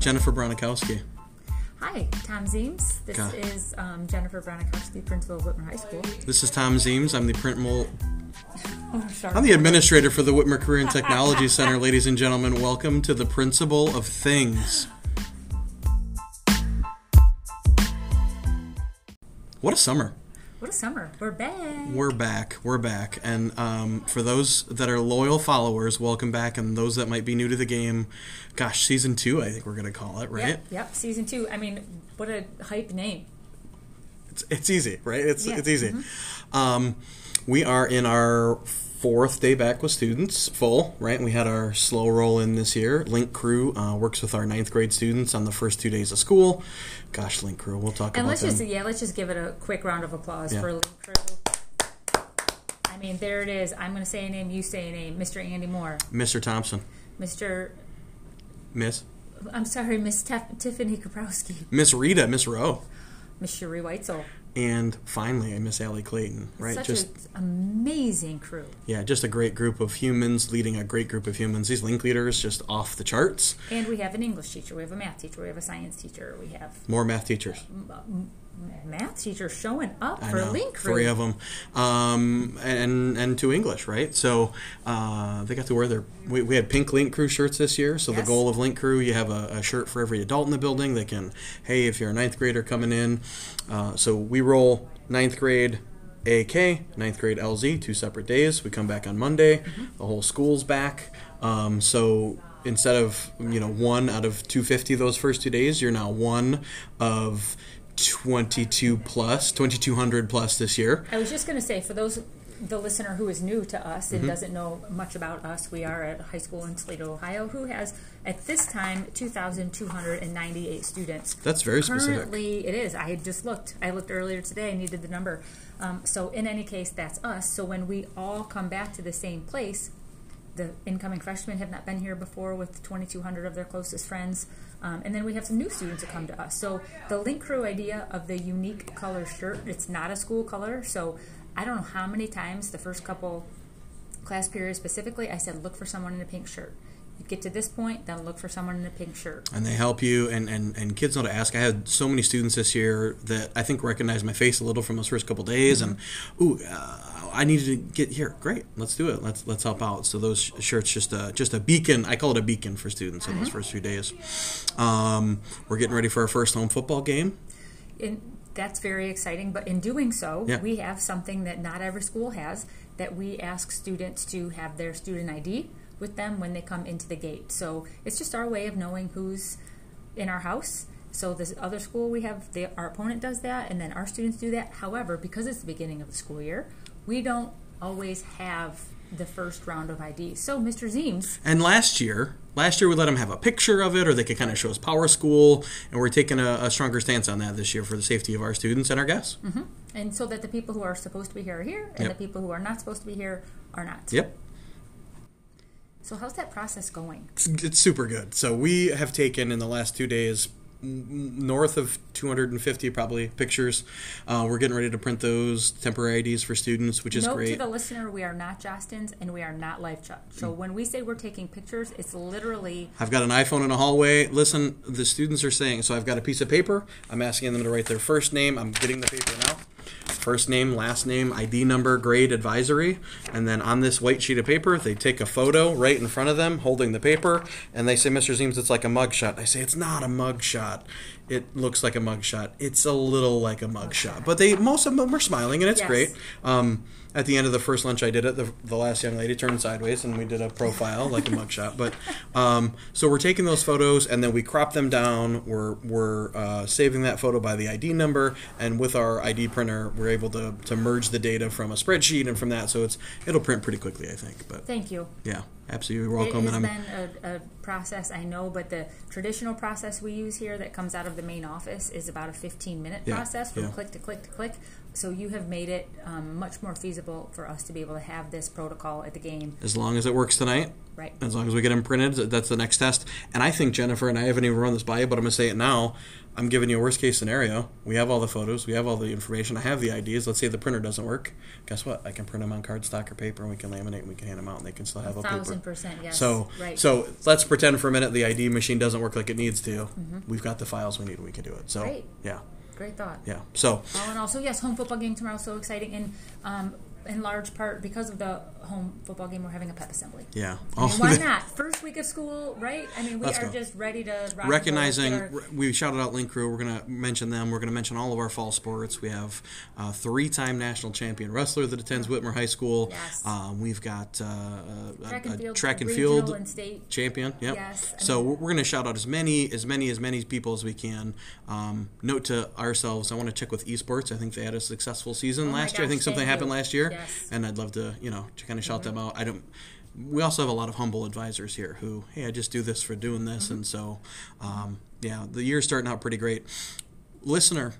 Jennifer Bronikowski. Hi, Tom Zeems. This Okay. is um, Jennifer Bronikowski, principal of Whitmer High School. This is Tom Zeems. I'm the principal. Oh, sorry. I'm the administrator for the Whitmer Career and Technology Center, ladies and gentlemen. Welcome to the Principle of Things. What a summer! what a summer. We're back. We're back. We're back. And um, for those that are loyal followers, welcome back. And those that might be new to the game, gosh, season two, I think we're going to call it, right? Yep, yep, season two. I mean, what a hype name. It's, it's easy, right? It's, Yeah. Mm-hmm. it's easy. Um, we are in our fourth day back with students, full, right? We had our slow roll in this year. Link Crew uh, works with our ninth grade students on the first two days of school. Gosh, Link Crew, we'll talk And about let's just them. yeah, let's just give it a quick round of applause Yeah. for Link Crew. I mean, there it is. I'm going to say a name. You say a name. Mr. Andy Moore. Mr. Thompson, Mr. Miss. I'm sorry, Miss Tef- Tiffany Kaprowski. Miss Rita, Miss Rowe, Miss Cherie Weitzel. and and finally Miss Allie Clayton, right? Such just an amazing crew. Yeah, just a great group of humans leading a great group of humans. These link leaders just off the charts. And we have an English teacher. We have a math teacher. We have a science teacher. We have More math teachers. math teacher showing up I for know, Link Crew. three of them, um, and and two English, right? So uh, they got to wear their. We, we had pink Link Crew shirts this year. So the Yes. goal of Link Crew, you have a, a shirt for every adult in the building. They can, hey, if you're a ninth grader coming in, uh, so we roll ninth grade. AK, ninth grade LZ, two separate days. We come back on Monday. The whole school's back. Um, so instead of you know one out of 250 those first two days, you're now one of 22 plus 2200 plus this year I was just going to say, for those the listener who is new to us Mm-hmm. and doesn't know much about us, we are at a high school in Toledo, Ohio, who has at this time 2,298 students. that's very specific Currently, it is. I had just looked. I looked earlier today. I needed the number. Um, so, in any case, that's us. So, when we all come back to the same place, the incoming freshmen have not been here before with 2,200 of their closest friends. Um, and then we have some new students that come to us. So, the Link Crew idea of the unique color shirt, it's not a school color. So, I don't know how many times the first couple class period specifically, I said, look for someone in a pink shirt. You get to this point, then look for someone in a pink shirt. and they help you and, and and kids know to ask i had so many students this year that i think recognized my face a little from those first couple days and ooh uh, i needed to get here great let's do it let's let's help out so those sh- shirts just a just a beacon i call it a beacon for students in those first few days um, we're getting ready for our first home football game in, that's very exciting. But in doing so, Yeah. we have something that not every school has that we ask students to have their student ID with them when they come into the gate. So it's just our way of knowing who's in our house. So this other school we have, the, our opponent does that, and then our students do that. However, because it's the beginning of the school year, we don't always have the first round of ID. So Mr. Zeems, And last year, last year we let them have a picture of it, or they could kind of show us Power School, and we're taking a, a stronger stance on that this year for the safety of our students and our guests. and so that the people who are supposed to be here are here, and Yep. the people who are not supposed to be here are not. Yep. So how's that process going? It's, it's super good. So we have taken in the last two days n- north of 250 probably pictures. Uh, we're getting ready to print those temporary IDs for students, which is Note to great. Mm. the listener, we are not Jostins and we are not live chat. So when we say we're taking pictures, it's literally I've got an iPhone in a hallway. Listen, the students are saying, so I've got a piece of paper. I'm asking them to write their first name. I'm getting the paper now. First name, last name, ID number, grade, advisory. And then on this white sheet of paper, they take a photo right in front of them holding the paper. And they say, Mr. Zeems, it's like a mugshot. I say, it's not a mugshot. It looks like a mugshot. It's a little like a mugshot. But they most of them are smiling, and it's Yes. great. Um, at the end of the first lunch I did it, the, the last young lady turned sideways and we did a profile like a mugshot. But um, so we're taking those photos and then we crop them down. We're, we're uh, saving that photo by the ID number. And with our ID printer, we're able to, to merge the data from a spreadsheet and from that. So it's it'll print pretty quickly, I think. But thank you. yeah, absolutely. You're It welcome. and has I'm, been a, a process, I know, but the traditional process we use here that comes out of the main office is about a 15 minute Yeah, process from yeah. click to click to click. so you have made it um, much more feasible for us to be able to have this protocol at the game, As long as it works tonight, right? as long as we get them printed, th- that's the next test. And I think Jennifer and I haven't even run this by you, but I'm gonna say it now. I'm giving you a worst case scenario. We have all the photos, we have all the information, I have the ideas. Let's say the printer doesn't work. Guess what? I can print them on cardstock or paper, and we can laminate, and we can hand them out, and they can still have a, paper. Thousand percent, yes. So, right. so let's pretend for a minute the ID machine doesn't work like it needs to. We've got the files we need, and we can do it. So, Mm-hmm. Great. yeah, great thought. yeah. So, All in all, so yes, home football game tomorrow, so exciting, and um, in large part because of the home football game, we're having a pep assembly. yeah. I mean, why not? First week of school, right? I mean, we Oh, Let's are go. just ready to rock and roll, recognizing get our- re- we shouted out link crew we're going to mention them we're going to mention all of our fall sports we have uh, three-time national champion wrestler that attends whitmer high school Yes. um, we've got uh, a- a- Track and a field, track and regional field and state. champion yep Yes, I so mean- we're going to shout out as many as many as many people as we can um, note to ourselves i want to check with esports i think they had a successful season Oh my last year i gosh, think something thank happened you. last year Yes. Mm-hmm. and I'd love to, you know, to kind of shout them out. I don't. We also have a lot of humble advisors here who, hey, I just do this for doing this, Mm-hmm. and so, um, yeah, the year's starting out pretty great. Listener,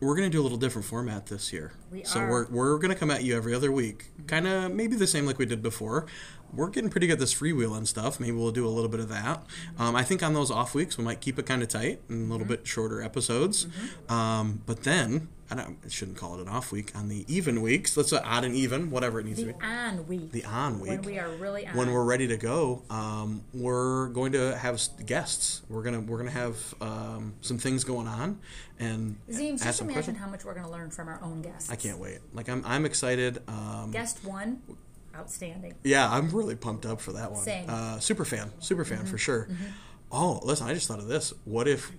we're gonna do a little different format this year. We so are. we're we're gonna come at you every other week, kind of maybe the same like we did before. We're getting pretty good at this freewheeling stuff. Maybe we'll do a little bit of that. Um, I think on those off weeks we might keep it kind of tight and a Mm-hmm. little bit shorter episodes. Um, but then I don't. I shouldn't call it an off week. On the even weeks, let's say odd and even, whatever it needs to the be. on week. The on week when we are really on. when we're ready to go, um, we're going to have s- guests. We're gonna we're gonna have um, some things going on, and Zeems, ask just some imagine questions. how much we're going to learn from our own guests. I can't wait. Like I'm I'm excited. Um, Guest one, outstanding. yeah, I'm really pumped up for that one. Same. Mm-hmm. Uh, super fan, super fan for sure. Oh, listen, I just thought of this. What if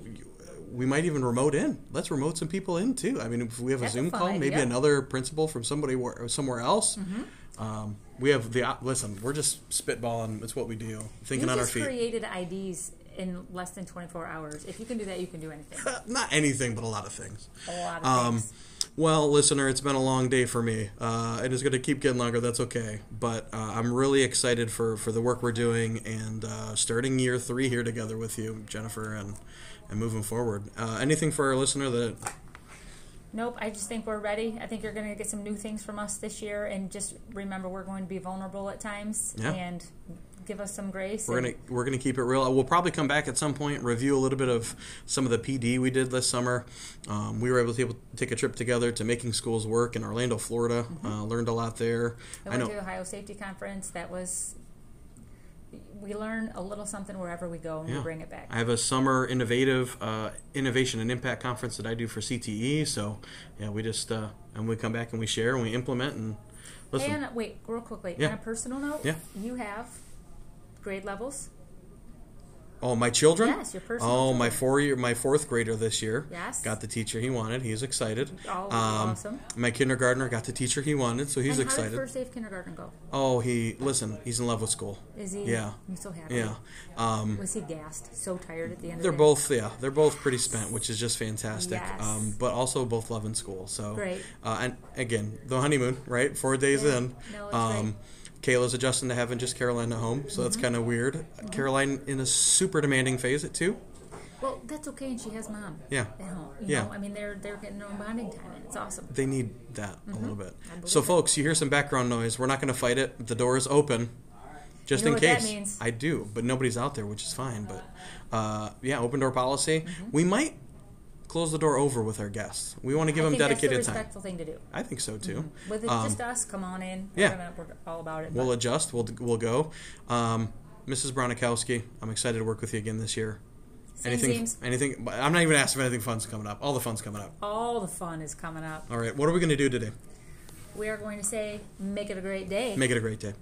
we might even remote in? Let's remote some people in too. I mean, if we have That's a a Zoom fun call, maybe idea. another principal from somebody where, somewhere else. Mm-hmm. Um, we have the op- listen. We're just spitballing. It's what we do. Thinking you on our just feet. created IDs in less than 24 hours. If you can do that, you can do anything. Uh, not anything, but a lot of things. A lot of Um, things. well, listener, it's been a long day for me, uh, and it's going to keep getting longer. That's okay, but uh, I'm really excited for, for the work we're doing and uh, starting year three here together with you, Jennifer, and and moving forward. Uh, anything for our listener that Nope, I just think we're ready. I think you're going to get some new things from us this year, and just remember we're going to be vulnerable at times, Yeah. and give us some grace. we're and- gonna we're gonna keep it real. We'll probably come back at some point, review a little bit of some of the PD we did this summer. Um, we were able to able to take a trip together to making schools work in Orlando, Florida. Uh, learned a lot there. Mm-hmm. I went to the Ohio Safety Conference. That was. We learn a little something wherever we go, and Yeah. we bring it back. I have a summer innovative uh, innovation and impact conference that I do for CTE. So yeah, we just uh, and we come back and we share and we implement and listen. And uh, wait, real quickly, Yeah. on a personal note, Yeah. you have grade levels. oh, my children. Yes, your personal Oh, my four year, my fourth grader this year. Yes. Got the teacher he wanted. He's excited. Um, Oh, awesome. My kindergartner got the teacher he wanted, so he's and How excited. did first day of kindergarten go? oh, he listen. He's in love with school. Is he? Yeah. I'm so happy. Yeah. Um, Was he gassed? So tired at the end. They're of the day? both yeah, they're both pretty spent, which is just fantastic. Yes. Um, but also both loving school. So Great. Uh, and again, the honeymoon, right? Four days Yeah. in. No, it's um, Kayla's adjusting to having just Caroline at home, so that's Mm-hmm. kind of weird. Caroline in a super demanding phase at two. Well, that's okay, and she has mom. Yeah. At home. You Yeah. Know? I mean, they're they're getting their own bonding time, and it's awesome. They need that a little bit. Mm-hmm. believe So, it. folks, you hear some background noise. We're not going to fight it. The door is open, just You know in what that case. means. I do, but nobody's out there, which is fine. But uh, yeah, open door policy. Mm-hmm. We might close the door over with our guests. We want to give I them think dedicated that's the Mm-hmm. time. respectful thing to do. I think so too. With it, Um, just us, come on in. yeah. We're, gonna, we're all about it. we'll but adjust. We'll we'll go. Um, Mrs. Bronikowski, I'm excited to work with you again this year. Same anything? seams. Anything? but I'm not even asking if anything fun's coming up. All the fun's coming up. all the fun is coming up. All right. What are we going to do today? We are going to say, make it a great day. Make it a great day.